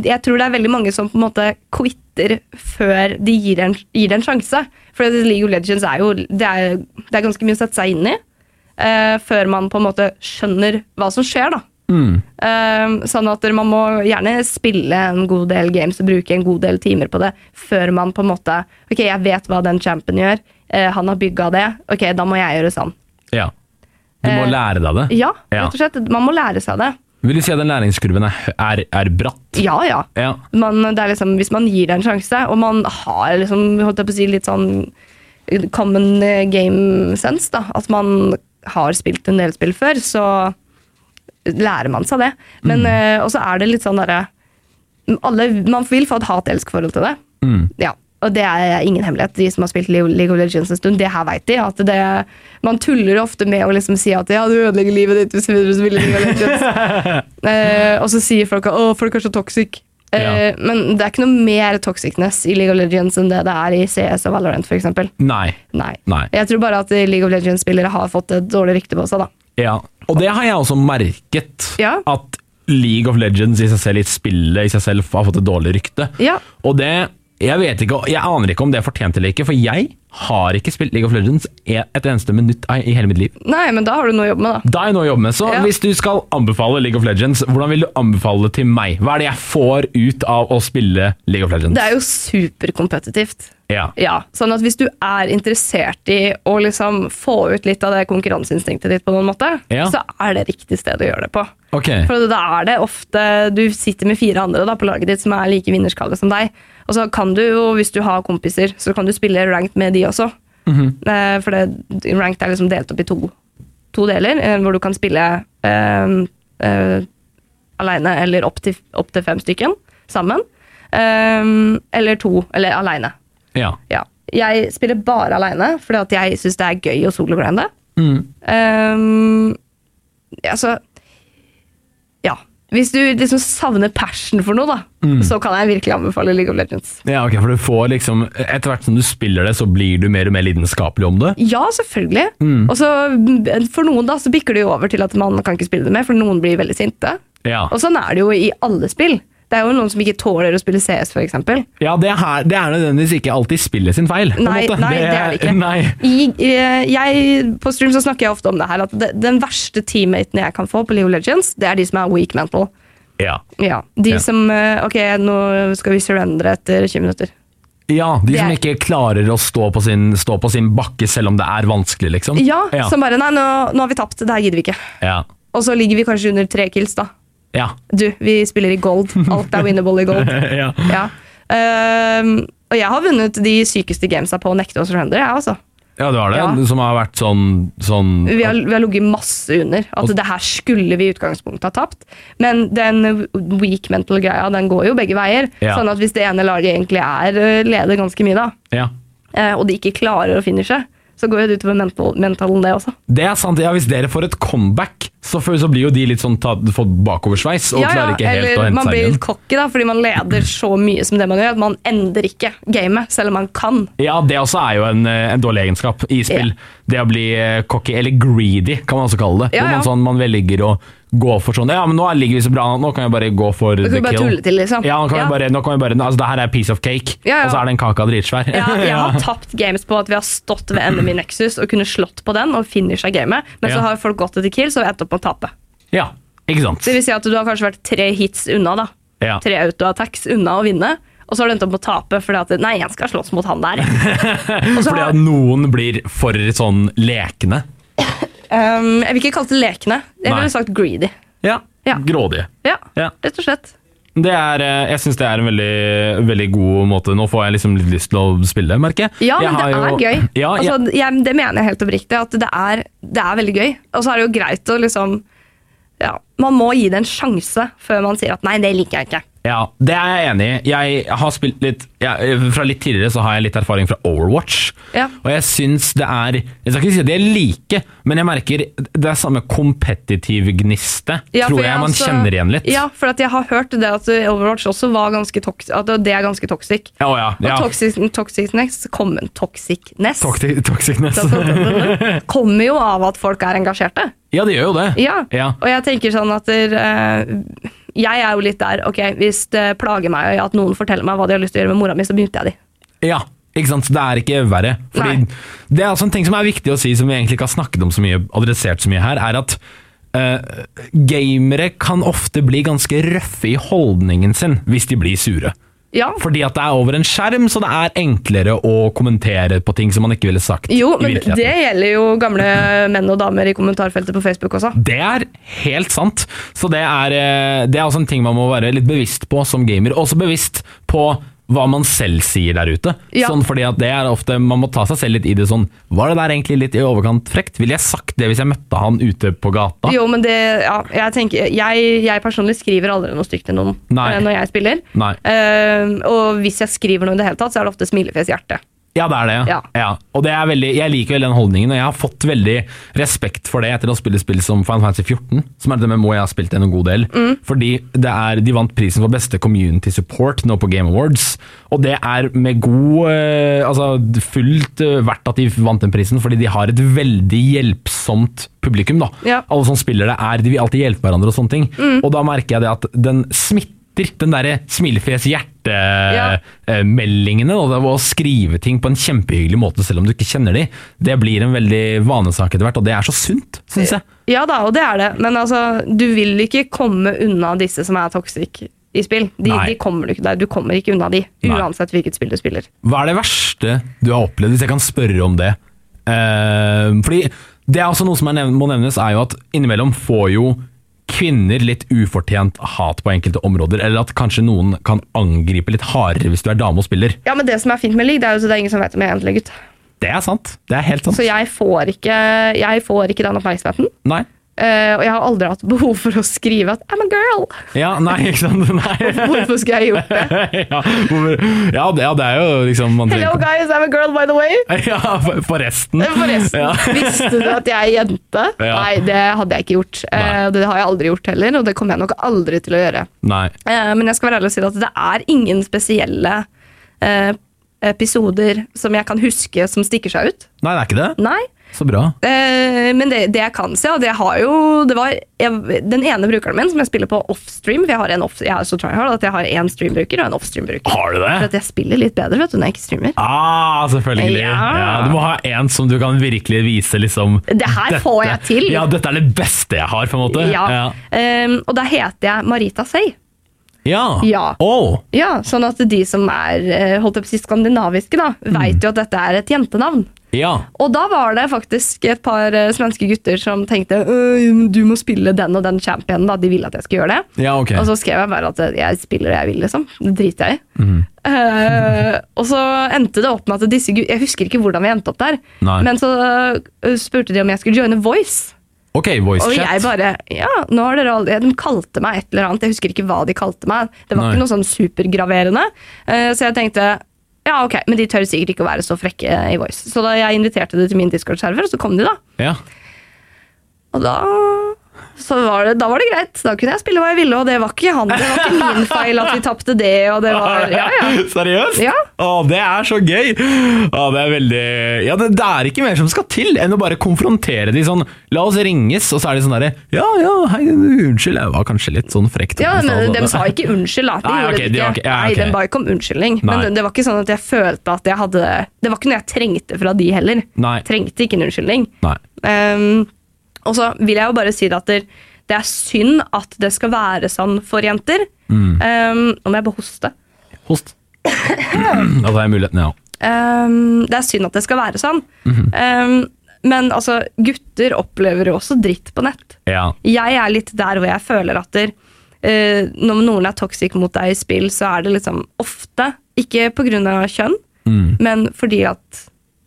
Speaker 3: jeg tror det er veldig mange som på en måte quitter før de gir det en, gir det en sjanse. For det- League of Legends er jo det er, det er ganske mye å sette seg inn i eh, før man på en måte skjønner hva som skjer, da. Eh, sånn at man må gjerne spille en god del games og bruke en god del timer på det før man på en måte Ok, jeg vet hva den champen gjør. eh, han har bygga det. Ok, da må jeg gjøre sånn.
Speaker 2: ja. Du må
Speaker 3: Eh,
Speaker 2: lære deg det.
Speaker 3: Ja,
Speaker 2: Ja.
Speaker 3: rett og slett. Man må lære seg det.
Speaker 2: Vil du si at den læringskurven er, er, er bratt?
Speaker 3: Ja, ja.
Speaker 2: Ja.
Speaker 3: man, det er liksom, hvis man gir det en sjanse, og man har liksom, holdt jeg på å si, litt sånn common eh, game sense, da, at man har spilt en del spill før, så lærer man seg det. Men eh, også er det litt sånn derre alle, Man vil få et hat-elsk-forhold til det. Ja, og det er ingen hemmelighet. De som har spilt Leo- League of Legends en stund, det her veit de. At det, man tuller ofte med å liksom si at ja, du ødelegger livet ditt hvis du spiller League of Legends. Eh, og så sier folk at å, folk er så toxic. Eh, Men det er ikke noe mer toxicness i League of Legends enn det det er i CS og Valorant f.eks.
Speaker 2: Nei.
Speaker 3: Nei.
Speaker 2: Nei.
Speaker 3: Jeg tror bare at League of Legends-spillere har fått et dårlig rykte på seg, da.
Speaker 2: Ja, og det har jeg også merket.
Speaker 3: Ja.
Speaker 2: At League of Legends i seg selv, i spillet i seg selv, har fått et dårlig rykte.
Speaker 3: Ja.
Speaker 2: Og det jeg, vet ikke, jeg aner ikke om det er fortjent eller ikke, for jeg har ikke spilt League of Legends e, et eneste minutt i hele mitt liv.
Speaker 3: Nei, men da har du noe å jobbe med, da.
Speaker 2: Da er jeg nå å jobbe med, så
Speaker 3: Ja.
Speaker 2: Hvis du skal anbefale League of Legends, hvordan vil du anbefale det til meg? Hva er det jeg får ut av å spille League of Legends?
Speaker 3: Det er jo superkompetitivt.
Speaker 2: ja.
Speaker 3: Ja, sånn at hvis du er interessert i å liksom få ut litt av det konkurranseinstinktet ditt, på noen måte,
Speaker 2: Ja.
Speaker 3: så er det riktig sted å gjøre det på.
Speaker 2: Ok.
Speaker 3: For da er det ofte Du sitter med fire andre da, på laget ditt som er like vinnerskalle som deg. Og så kan du jo, hvis du har kompiser, så kan du spille ranked med de også. Eh, For det, ranked er liksom delt opp i to, to deler, eh, hvor du kan spille eh, eh, aleine eller opp til, opp til fem stykken sammen. Eh, eller to, eller aleine.
Speaker 2: ja.
Speaker 3: Ja. Jeg spiller bare aleine, fordi at jeg syns det er gøy å sologrande. Um, altså Ja. Hvis du liksom savner passion for noe, da, så kan jeg virkelig anbefale League of Legends.
Speaker 2: ja, ok, for du får liksom Etter hvert som du spiller det, så blir du mer og mer lidenskapelig om det.
Speaker 3: Ja, selvfølgelig. Og så mm, For noen da, så bikker det jo over til at man kan ikke spille det mer, for noen blir veldig sinte.
Speaker 2: Ja.
Speaker 3: Og sånn er det jo i alle spill. Det er jo noen som ikke tåler å spille CS, for eksempel.
Speaker 2: Ja, det, her, det er nødvendigvis ikke alltid spillet sin feil. på en
Speaker 3: Nei,
Speaker 2: måte.
Speaker 3: nei, det er det ikke.
Speaker 2: Nei.
Speaker 3: I, eh, jeg, på stream så snakker jeg ofte om det her, at det, den verste teammaten jeg kan få på League of Legends, det er de som er weak mental.
Speaker 2: Ja.
Speaker 3: Ja, de
Speaker 2: Ja.
Speaker 3: som eh, Ok, nå skal vi surrendere etter 20 minutter.
Speaker 2: ja, de
Speaker 3: Det
Speaker 2: som
Speaker 3: er-
Speaker 2: ikke klarer å stå på, sin, stå på sin bakke selv om det er vanskelig, liksom.
Speaker 3: Ja,
Speaker 2: ja.
Speaker 3: som bare Nei, nå, nå har vi tapt. Det her gidder vi ikke.
Speaker 2: Ja.
Speaker 3: Og så ligger vi kanskje under tre kills, da.
Speaker 2: Ja.
Speaker 3: Du, vi spiller i gold. Alt er winnable i gold.
Speaker 2: ja.
Speaker 3: Ja. Ehm, og jeg har vunnet de sykeste gamesa på å nekte å surrender, jeg, altså.
Speaker 2: ja, det var det.
Speaker 3: Ja.
Speaker 2: Som har vært sånn, sånn
Speaker 3: Vi har, vi har ligget masse under. At det her skulle vi i utgangspunktet ha tapt. Men den weak mental-greia, den går jo begge veier.
Speaker 2: Ja.
Speaker 3: Sånn at hvis det ene laget egentlig er eh, leder ganske mye, da,
Speaker 2: ja.
Speaker 3: eh, og de ikke klarer å finishe, så går jo det utover mental, mentalen, det også.
Speaker 2: Det er sant. Ja, hvis dere får et comeback, så, før, så blir jo de litt sånn tatt, fått bakoversveis og klarer ikke helt å
Speaker 3: eller
Speaker 2: hente
Speaker 3: man
Speaker 2: seg
Speaker 3: blir
Speaker 2: igjen.
Speaker 3: litt cocky da, fordi man leder så mye som det man gjør, at man ender ikke gamet, selv om man kan.
Speaker 2: Ja, det også er jo en, eh, en dårlig egenskap i spill. Det å bli eh, cocky, eller greedy, kan man også kalle det.
Speaker 3: Ja,
Speaker 2: Hvor
Speaker 3: ja.
Speaker 2: man, sånn, man velger å gå for sånn Ja, men nå ligger vi så bra an, nå kan jeg bare gå for the
Speaker 3: kan
Speaker 2: kill.
Speaker 3: vi bare tulle til, liksom.
Speaker 2: Ja, nå kan
Speaker 3: Ja.
Speaker 2: vi bare, nå kan vi bare Altså, det her er piece of cake,
Speaker 3: Ja, ja.
Speaker 2: og så er den kaka dritsvær.
Speaker 3: Ja, jeg har tapt games på at vi har stått ved enemy nexus og kunne slått på den og finisha gamet, men
Speaker 2: Ja.
Speaker 3: så har folk gått etter kill, så har vi endt opp med å tape.
Speaker 2: Ja, ikke sant?
Speaker 3: Det vil si at du har kanskje vært tre hits unna, da.
Speaker 2: Ja.
Speaker 3: Tre autoattacks unna å vinne, og så har du endt opp med å tape fordi at Nei, jeg skal slåss mot han der. Og
Speaker 2: Fordi
Speaker 3: så har,
Speaker 2: at noen blir for sånn lekne.
Speaker 3: um, jeg vil ikke kalle det lekne. Jeg
Speaker 2: Nei.
Speaker 3: ville sagt greedy.
Speaker 2: Ja.
Speaker 3: Ja.
Speaker 2: Grådige.
Speaker 3: Ja,
Speaker 2: Ja.
Speaker 3: rett og slett.
Speaker 2: Det er, eh, jeg syns det er en veldig, veldig god måte Nå får jeg liksom litt lyst til å spille, merker jeg.
Speaker 3: Ja,
Speaker 2: jeg
Speaker 3: men det
Speaker 2: har
Speaker 3: er
Speaker 2: jo-
Speaker 3: gøy.
Speaker 2: Ja, jeg-
Speaker 3: altså, jeg, det mener jeg helt oppriktig, at det er, det er veldig gøy. Og så er det jo greit å liksom ja, Man må gi det en sjanse før man sier at nei, det liker jeg ikke.
Speaker 2: Ja, det er jeg enig i. Jeg har spilt litt jeg, Fra litt tidligere så har jeg litt erfaring fra Overwatch.
Speaker 3: Ja.
Speaker 2: Og jeg syns det er Jeg skal ikke si at jeg liker, men jeg merker det er samme kompetitiv gniste.
Speaker 3: Ja, for
Speaker 2: tror jeg, man
Speaker 3: også-
Speaker 2: kjenner igjen litt.
Speaker 3: Ja, for at jeg har hørt det at Overwatch også var ganske toks at det er ganske toxic.
Speaker 2: Ja, å ja,
Speaker 3: Og
Speaker 2: ja.
Speaker 3: toxic, toxicness kommer toxicness.
Speaker 2: Toxi- Toxicness.
Speaker 3: kommer jo av at folk er engasjerte.
Speaker 2: Ja, det gjør jo det.
Speaker 3: Ja.
Speaker 2: Ja.
Speaker 3: Og jeg tenker sånn at der, eh, jeg er jo litt der Ok, hvis det plager meg at noen forteller meg hva de har lyst til å gjøre med mora mi, så begynte jeg de.
Speaker 2: Ja, ikke sant? Det er ikke verre. Fordi
Speaker 3: Nei.
Speaker 2: Det er altså en ting som er viktig å si, som vi egentlig ikke har snakket om så mye, adressert så mye her, er at eh, gamere kan ofte bli ganske røffe i holdningen sin hvis de blir sure.
Speaker 3: Ja.
Speaker 2: Fordi at det er over en skjerm, så det er enklere å kommentere på ting som man ikke ville sagt
Speaker 3: Jo,
Speaker 2: i
Speaker 3: men
Speaker 2: virkeligheten.
Speaker 3: det gjelder jo gamle menn og damer i kommentarfeltet på Facebook også.
Speaker 2: Det er helt sant. Så det er, eh, det er også en ting man må være litt bevisst på som gamer. Også bevisst på hva man selv sier der ute.
Speaker 3: Ja.
Speaker 2: Sånn fordi at det er ofte, Man må ta seg selv litt i det sånn Var det der egentlig litt i overkant frekt? Ville jeg sagt det hvis jeg møtte han ute på gata?
Speaker 3: Jo, men det Ja, jeg tenker Jeg, jeg personlig skriver aldri noe stygt til noen
Speaker 2: Nei.
Speaker 3: eh, når jeg spiller.
Speaker 2: Nei.
Speaker 3: Eh, og hvis jeg skriver noe i det hele tatt, så er det ofte smilefjes-hjerte.
Speaker 2: Ja, det er det.
Speaker 3: Ja.
Speaker 2: Og det er veldig, Jeg liker veldig den holdningen, og jeg har fått veldig respekt for det etter å spille spill som Final Fantasy 14, som er det memoet jeg har spilt en god del.
Speaker 3: Mm.
Speaker 2: Fordi det er, De vant prisen for beste community support nå på Game Awards, og det er med god eh, Altså fullt eh, verdt at de vant den prisen, fordi de har et veldig hjelpsomt publikum. da.
Speaker 3: Ja. Mm.
Speaker 2: Alle som spiller det, er, de vil alltid hjelpe hverandre og sånne ting. Og da merker jeg det at den smitter. Den derre
Speaker 3: Ja.
Speaker 2: smilefjes-hjerte eh, meldingene og det var å skrive ting på en kjempehyggelig måte selv om du ikke kjenner de, det blir en veldig vanesak etter hvert, og det er så sunt, syns jeg.
Speaker 3: Ja da, og det er det, men altså, du vil ikke komme unna disse som er toxic i spill. De,
Speaker 2: Nei.
Speaker 3: de kommer du, ikke, der. du kommer ikke unna de,
Speaker 2: Nei.
Speaker 3: uansett hvilket spill du spiller.
Speaker 2: Hva er det verste du har opplevd, hvis jeg kan spørre om det? Eh, fordi det er også noe som er nevn må nevnes, er jo at innimellom får jo kvinner litt ufortjent hat på enkelte områder, eller at kanskje noen kan angripe litt hardere hvis du er dame og spiller.
Speaker 3: Ja, men det som er fint med league, det er jo så det er ingen som vet om jeg er ordentlig gutt.
Speaker 2: Det er sant. Det er helt sant.
Speaker 3: Så jeg får ikke, jeg får ikke den oppmerksomheten.
Speaker 2: Nei.
Speaker 3: Eh, og jeg har aldri hatt behov for å skrive at I'm a girl!
Speaker 2: Ja, nei, ikke sant. Nei.
Speaker 3: Hvorfor skulle jeg gjort det?
Speaker 2: ja, hvorfor- ja, det, ja, det er jo liksom man
Speaker 3: Hello
Speaker 2: trenger-
Speaker 3: guys, I'm a girl by the way! Eh,
Speaker 2: Ja, for- forresten.
Speaker 3: Forresten,
Speaker 2: Ja.
Speaker 3: visste du at jeg er jente?
Speaker 2: Ja.
Speaker 3: Nei, det hadde jeg ikke gjort. Eh,
Speaker 2: Nei.
Speaker 3: det har jeg aldri gjort heller, og det kommer jeg nok aldri til å gjøre.
Speaker 2: Nei.
Speaker 3: Eh, Men jeg skal være ærlig og si at det er ingen spesielle eh, episoder som jeg kan huske som stikker seg ut.
Speaker 2: Nei, det er ikke det.
Speaker 3: Nei.
Speaker 2: Så bra.
Speaker 3: Eh, Men det, det jeg kan se, og det har jo det var, jeg, Den ene brukeren min som jeg spiller på offstream For jeg, har en off, jeg er så tryhard at jeg har én streambruker og en offstream-bruker.
Speaker 2: Har du
Speaker 3: For
Speaker 2: det?
Speaker 3: at jeg spiller litt bedre vet du, når jeg ikke streamer.
Speaker 2: Ah, selvfølgelig. Ja.
Speaker 3: Ja.
Speaker 2: du må ha en som du kan virkelig vise liksom
Speaker 3: Det her
Speaker 2: dette-
Speaker 3: får jeg til.
Speaker 2: Ja, dette er det beste jeg har, på en måte.
Speaker 3: Ja. Eh, og da heter jeg Marita Say.
Speaker 2: Ja.
Speaker 3: Ja.
Speaker 2: Å,
Speaker 3: Ja, sånn at de som er eh, holdt jeg på å si, skandinaviske, da,
Speaker 2: Mm.
Speaker 3: veit jo at dette er et jentenavn.
Speaker 2: ja.
Speaker 3: Og da var det faktisk et par eh, svenske gutter som tenkte «Øh, du må spille den og den championen. Da. De ville at jeg skulle gjøre det.
Speaker 2: Ja, ok.
Speaker 3: Og så skrev jeg bare at eh, jeg spiller det jeg vil, liksom. Det driter jeg i.
Speaker 2: Mhm.
Speaker 3: Eh, og så endte det opp med at disse gu- Jeg husker ikke hvordan vi endte opp der,
Speaker 2: Nei.
Speaker 3: men så eh, spurte de om jeg skulle joine Voice.
Speaker 2: Ok, voice
Speaker 3: Og jeg
Speaker 2: chat.
Speaker 3: bare Ja, nå har dere aldri De kalte meg et eller annet. Jeg husker ikke hva de kalte meg. Det var
Speaker 2: Nei.
Speaker 3: ikke noe sånn supergraverende. Eh, så jeg tenkte ja, ok, men de tør sikkert ikke å være så frekke eh, i Voice. Så da jeg inviterte de til min Discord-server, så kom de, da.
Speaker 2: Ja.
Speaker 3: Og da Så var det, da var det greit. Da kunne jeg spille hva jeg ville, og det var ikke han. Det var ikke min feil at vi tapte det, og det var Ja, ja.
Speaker 2: Seriøst?
Speaker 3: Ja.
Speaker 2: Å, det er så gøy! Å, det er veldig Ja, det, det er ikke mer som skal til enn å bare konfrontere de sånn La oss ringes, og så er de sånn derre Ja, ja, hei, unnskyld, jeg var kanskje litt sånn frekt.
Speaker 3: Ja, men De sa ikke unnskyld, da. De
Speaker 2: Nei,
Speaker 3: gjorde
Speaker 2: ok,
Speaker 3: det
Speaker 2: de
Speaker 3: ikke.
Speaker 2: har ikke- ja,
Speaker 3: Nei,
Speaker 2: ok.
Speaker 3: den ba ikke om unnskyldning.
Speaker 2: Nei.
Speaker 3: Men det, det var ikke sånn at jeg følte at jeg hadde Det var ikke noe jeg trengte fra de heller.
Speaker 2: Nei.
Speaker 3: Trengte ikke en unnskyldning.
Speaker 2: Nei.
Speaker 3: Ehm, og så vil jeg jo bare si det at det det er synd at det skal være sånn for jenter. Ehm, nå må jeg bare hoste.
Speaker 2: Host. da tar jeg muligheten, ja.
Speaker 3: Ehm, det er synd at det skal være sånn. Ehm, men altså, gutter opplever jo også dritt på nett.
Speaker 2: ja.
Speaker 3: Jeg er litt der hvor jeg føler at der, eh, når noen er toxic mot deg i spill, så er det liksom ofte Ikke pga. kjønn, men fordi at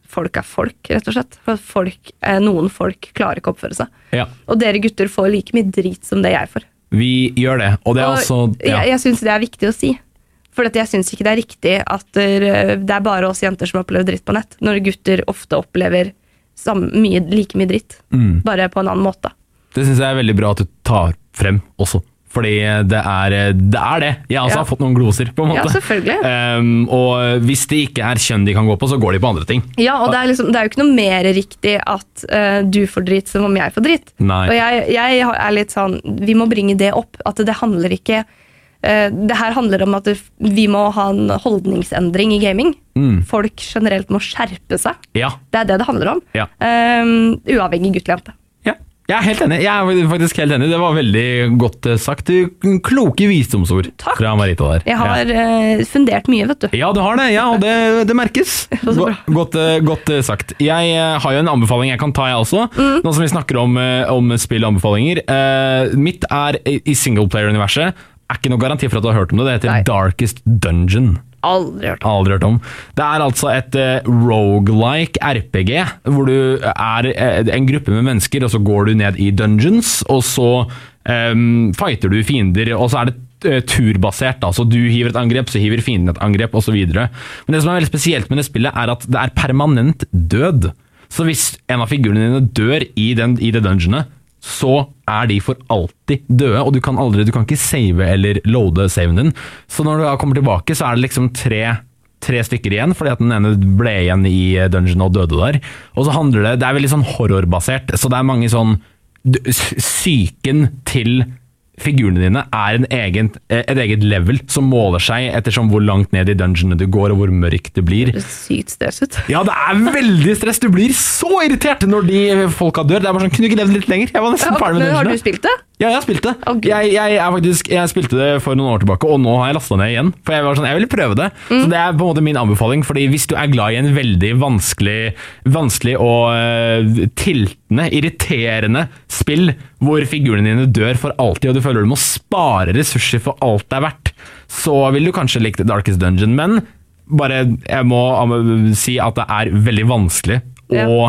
Speaker 3: folk er folk, rett og slett. For at folk, eh, noen folk klarer ikke å oppføre seg.
Speaker 2: Ja.
Speaker 3: Og dere gutter får like mye drit som det jeg får.
Speaker 2: Vi gjør det, og det er
Speaker 3: Og
Speaker 2: også
Speaker 3: Jeg,
Speaker 2: ja.
Speaker 3: jeg syns det er viktig å si. For at jeg syns ikke det er riktig at der, eh, det er bare oss jenter som opplever dritt på nett, når gutter ofte opplever samme, mye, like mye dritt,
Speaker 2: Mm.
Speaker 3: bare på en annen måte.
Speaker 2: Det syns jeg er veldig bra at du tar frem også. Fordi det er eh, det. Er det. Jeg også
Speaker 3: Ja.
Speaker 2: har fått noen gloser, på en
Speaker 3: Ja,
Speaker 2: måte.
Speaker 3: selvfølgelig.
Speaker 2: Ehm, og hvis det ikke er kjønn de kan gå på, så går de på andre ting.
Speaker 3: Ja, og det er, liksom, det er jo ikke noe mer riktig at eh, du får dritt som om jeg får dritt.
Speaker 2: Nei.
Speaker 3: Og jeg, jeg har- er litt sånn Vi må bringe det opp. At det handler ikke eh, Det her handler om at det, vi må ha en holdningsendring i gaming.
Speaker 2: Mm.
Speaker 3: Folk generelt må skjerpe seg.
Speaker 2: Ja.
Speaker 3: Det er det det handler om.
Speaker 2: Ja.
Speaker 3: Ehm, uavhengig gutt eller jente.
Speaker 2: Ja, jeg er helt enig. Jeg er faktisk helt enig. Det var veldig godt eh, sagt. Kloke visdomsord
Speaker 3: Takk.
Speaker 2: fra Marita der. Ja.
Speaker 3: Jeg har eh, fundert mye, vet du.
Speaker 2: Ja, du har det. Ja, og det, det merkes.
Speaker 3: var så
Speaker 2: Go-
Speaker 3: bra.
Speaker 2: Godt, eh, godt eh, sagt. Jeg eh, har jo en anbefaling jeg kan ta, jeg også.
Speaker 3: Mm.
Speaker 2: Nå som vi snakker om, eh, om spillanbefalinger. Eh, mitt er i i singleplayer-universet. Er ikke noe garanti for at du har hørt om det. Det heter
Speaker 3: Nei.
Speaker 2: Darkest Dungeon.
Speaker 3: Aldri hørt om.
Speaker 2: Aldri hørt om. Det er altså et uh, rogelike RPG, hvor du er eh, en gruppe med mennesker, og så går du ned i dungeons, og så em, fighter du fiender, og så er det eh, turbasert, da. så du hiver et angrep, så hiver fienden et angrep, osv. Men det som er veldig spesielt med det spillet, er at det er permanent død. Så hvis en av figurene dine dør i, den, i det dungeonet, så er de for alltid døde, og du kan aldri, du kan ikke save eller loade saven din. Så når du da kommer tilbake, så er det liksom tre, tre stykker igjen, fordi at den ene ble igjen i eh, dungeon og døde der. Og så handler det, det er veldig sånn horrorbasert, så det er mange sånn, d- s- psyken til figurene dine er en egen, eh, et eget level som måler seg ettersom hvor langt ned i dungeonet du går, og hvor mørkt det blir.
Speaker 3: Det høres sykt stress ut.
Speaker 2: Ja, det er veldig stress. Du blir så irritert når de folka dør. Det er bare sånn, Kunne du ikke levd litt lenger? Jeg var nesten ferdig med
Speaker 3: Men har
Speaker 2: dungeonet.
Speaker 3: du spilt det?
Speaker 2: Ja, jeg har spilt det.
Speaker 3: Å, Gud.
Speaker 2: jeg, jeg, er faktisk, jeg spilte det for noen år tilbake, og nå har jeg lasta ned igjen. For jeg var sånn, jeg ville prøve det.
Speaker 3: Mm.
Speaker 2: Så det er på en måte min anbefaling. fordi hvis du er glad i en veldig vanskelig, vanskelig og eh, tiltende, irriterende spill hvor figurene dine dør for alltid, og du føler du må spare ressurser for alt det er verdt, så vil du kanskje like Darkest Dungeon, men bare, jeg må eh, si at det er veldig vanskelig,
Speaker 3: Ja.
Speaker 2: og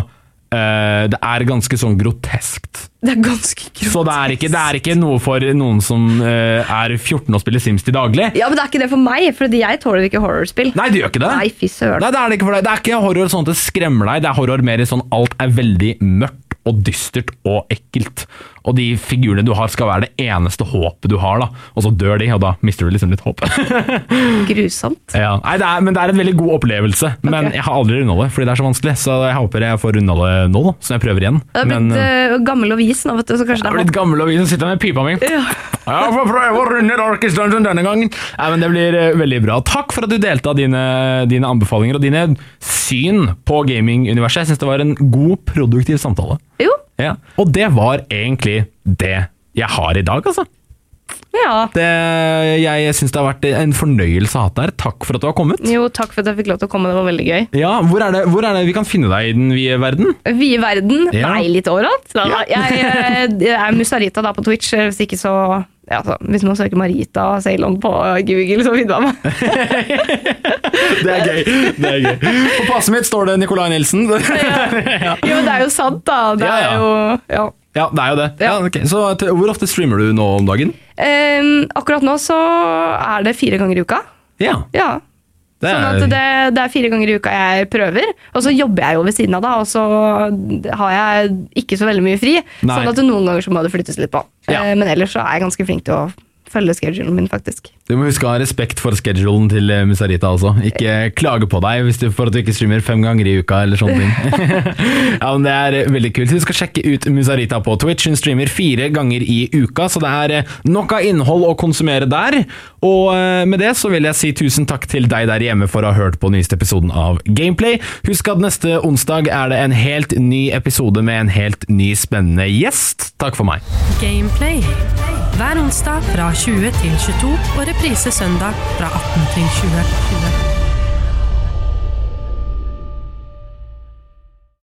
Speaker 2: eh, det er ganske sånn groteskt.
Speaker 3: Det er ganske grotesk.
Speaker 2: Så det er, ikke, det er ikke noe for noen som eh, er 14 og spiller Sims til daglig.
Speaker 3: Ja, men det er ikke det for meg, for jeg tåler ikke horrorspill.
Speaker 2: Nei, det gjør ikke det.
Speaker 3: Nei, fy søren.
Speaker 2: Nei, det er det ikke for deg. Det er ikke horror sånn at det skremmer deg. Det er horror mer i sånn alt er veldig mørkt og dystert og ekkelt. Og de figurene du har skal være det eneste håpet du har, da. Og så dør de, og da mister du liksom litt håpet.
Speaker 3: Grusomt.
Speaker 2: ja. Nei, det er, men det er en veldig god opplevelse. Men
Speaker 3: Ok.
Speaker 2: jeg har aldri runda det, fordi det er så vanskelig. Så jeg håper jeg får runda det nå, da. Så jeg prøver igjen.
Speaker 3: Jeg har blitt
Speaker 2: Men eh,
Speaker 3: eh, gammel og vis nå, vet du, så
Speaker 2: jeg
Speaker 3: kanskje det
Speaker 2: har
Speaker 3: er
Speaker 2: blitt gammel og vi som sitter med pipa mi. Jeg får prøve å runde Darkest Dungeon denne gangen. Nei, men Det blir eh, veldig bra. Takk for at du delte av dine, dine anbefalinger og dine syn på gaminguniverset. Jeg syns det var en god, produktiv samtale.
Speaker 3: Jo,
Speaker 2: Ja. Og det var egentlig det jeg har i dag, altså.
Speaker 3: ja.
Speaker 2: Det, jeg syns det har vært en fornøyelse å ha deg her. Takk for at du har kommet.
Speaker 3: Jo, takk for at jeg fikk lov til å komme, det var veldig gøy.
Speaker 2: Ja, Hvor er det, hvor er det vi kan finne deg i den vide verden?
Speaker 3: Vide verden,
Speaker 2: Ja.
Speaker 3: nei, litt overalt. Da, da.
Speaker 2: Ja.
Speaker 3: Jeg, eh, jeg er Musarita da på Twitch, eh, hvis ikke så ja, altså, Hvis man søker Marita Ceylon på Google, så finner man meg.
Speaker 2: Det er gøy. det er gøy. På passet mitt står det Nicolai Nilsen.
Speaker 3: Jo, men det er jo sant, da. Det
Speaker 2: Ja, ja.
Speaker 3: er jo ja.
Speaker 2: Ja, det er jo det. Ja.
Speaker 3: Ja.
Speaker 2: ok. Så til, hvor ofte streamer du nå om dagen?
Speaker 3: Em, Akkurat nå så er det fire ganger i uka.
Speaker 2: Ja,
Speaker 3: Ja.
Speaker 2: Det
Speaker 3: sånn
Speaker 2: er-
Speaker 3: at det, det er fire ganger i uka jeg prøver, og så jobber jeg jo ved siden av da, og så har jeg ikke så veldig mye fri.
Speaker 2: Nei.
Speaker 3: Sånn at noen ganger så må det flyttes litt på.
Speaker 2: Ja.
Speaker 3: Eh, Men ellers så er jeg ganske flink til å følge schedulen min, faktisk.
Speaker 2: Du må huske å ha respekt for schedulen til eh, Musarita også. Ikke klage på deg hvis du, for at du ikke streamer fem ganger i uka eller sånne ting. ja, men Det er eh, veldig kult. Du skal sjekke ut Musarita på Twitch. Hun streamer fire ganger i uka, så det er eh, nok av innhold å konsumere der. Og eh, med det så vil jeg si tusen takk til deg der hjemme for å ha hørt på nyeste episoden av Gameplay. Husk at neste onsdag er det en helt ny episode med en helt ny spennende gjest. Takk for meg.
Speaker 1: Gameplay. Hver onsdag fra 20 til 22 og reprise søndag fra 18 til 20.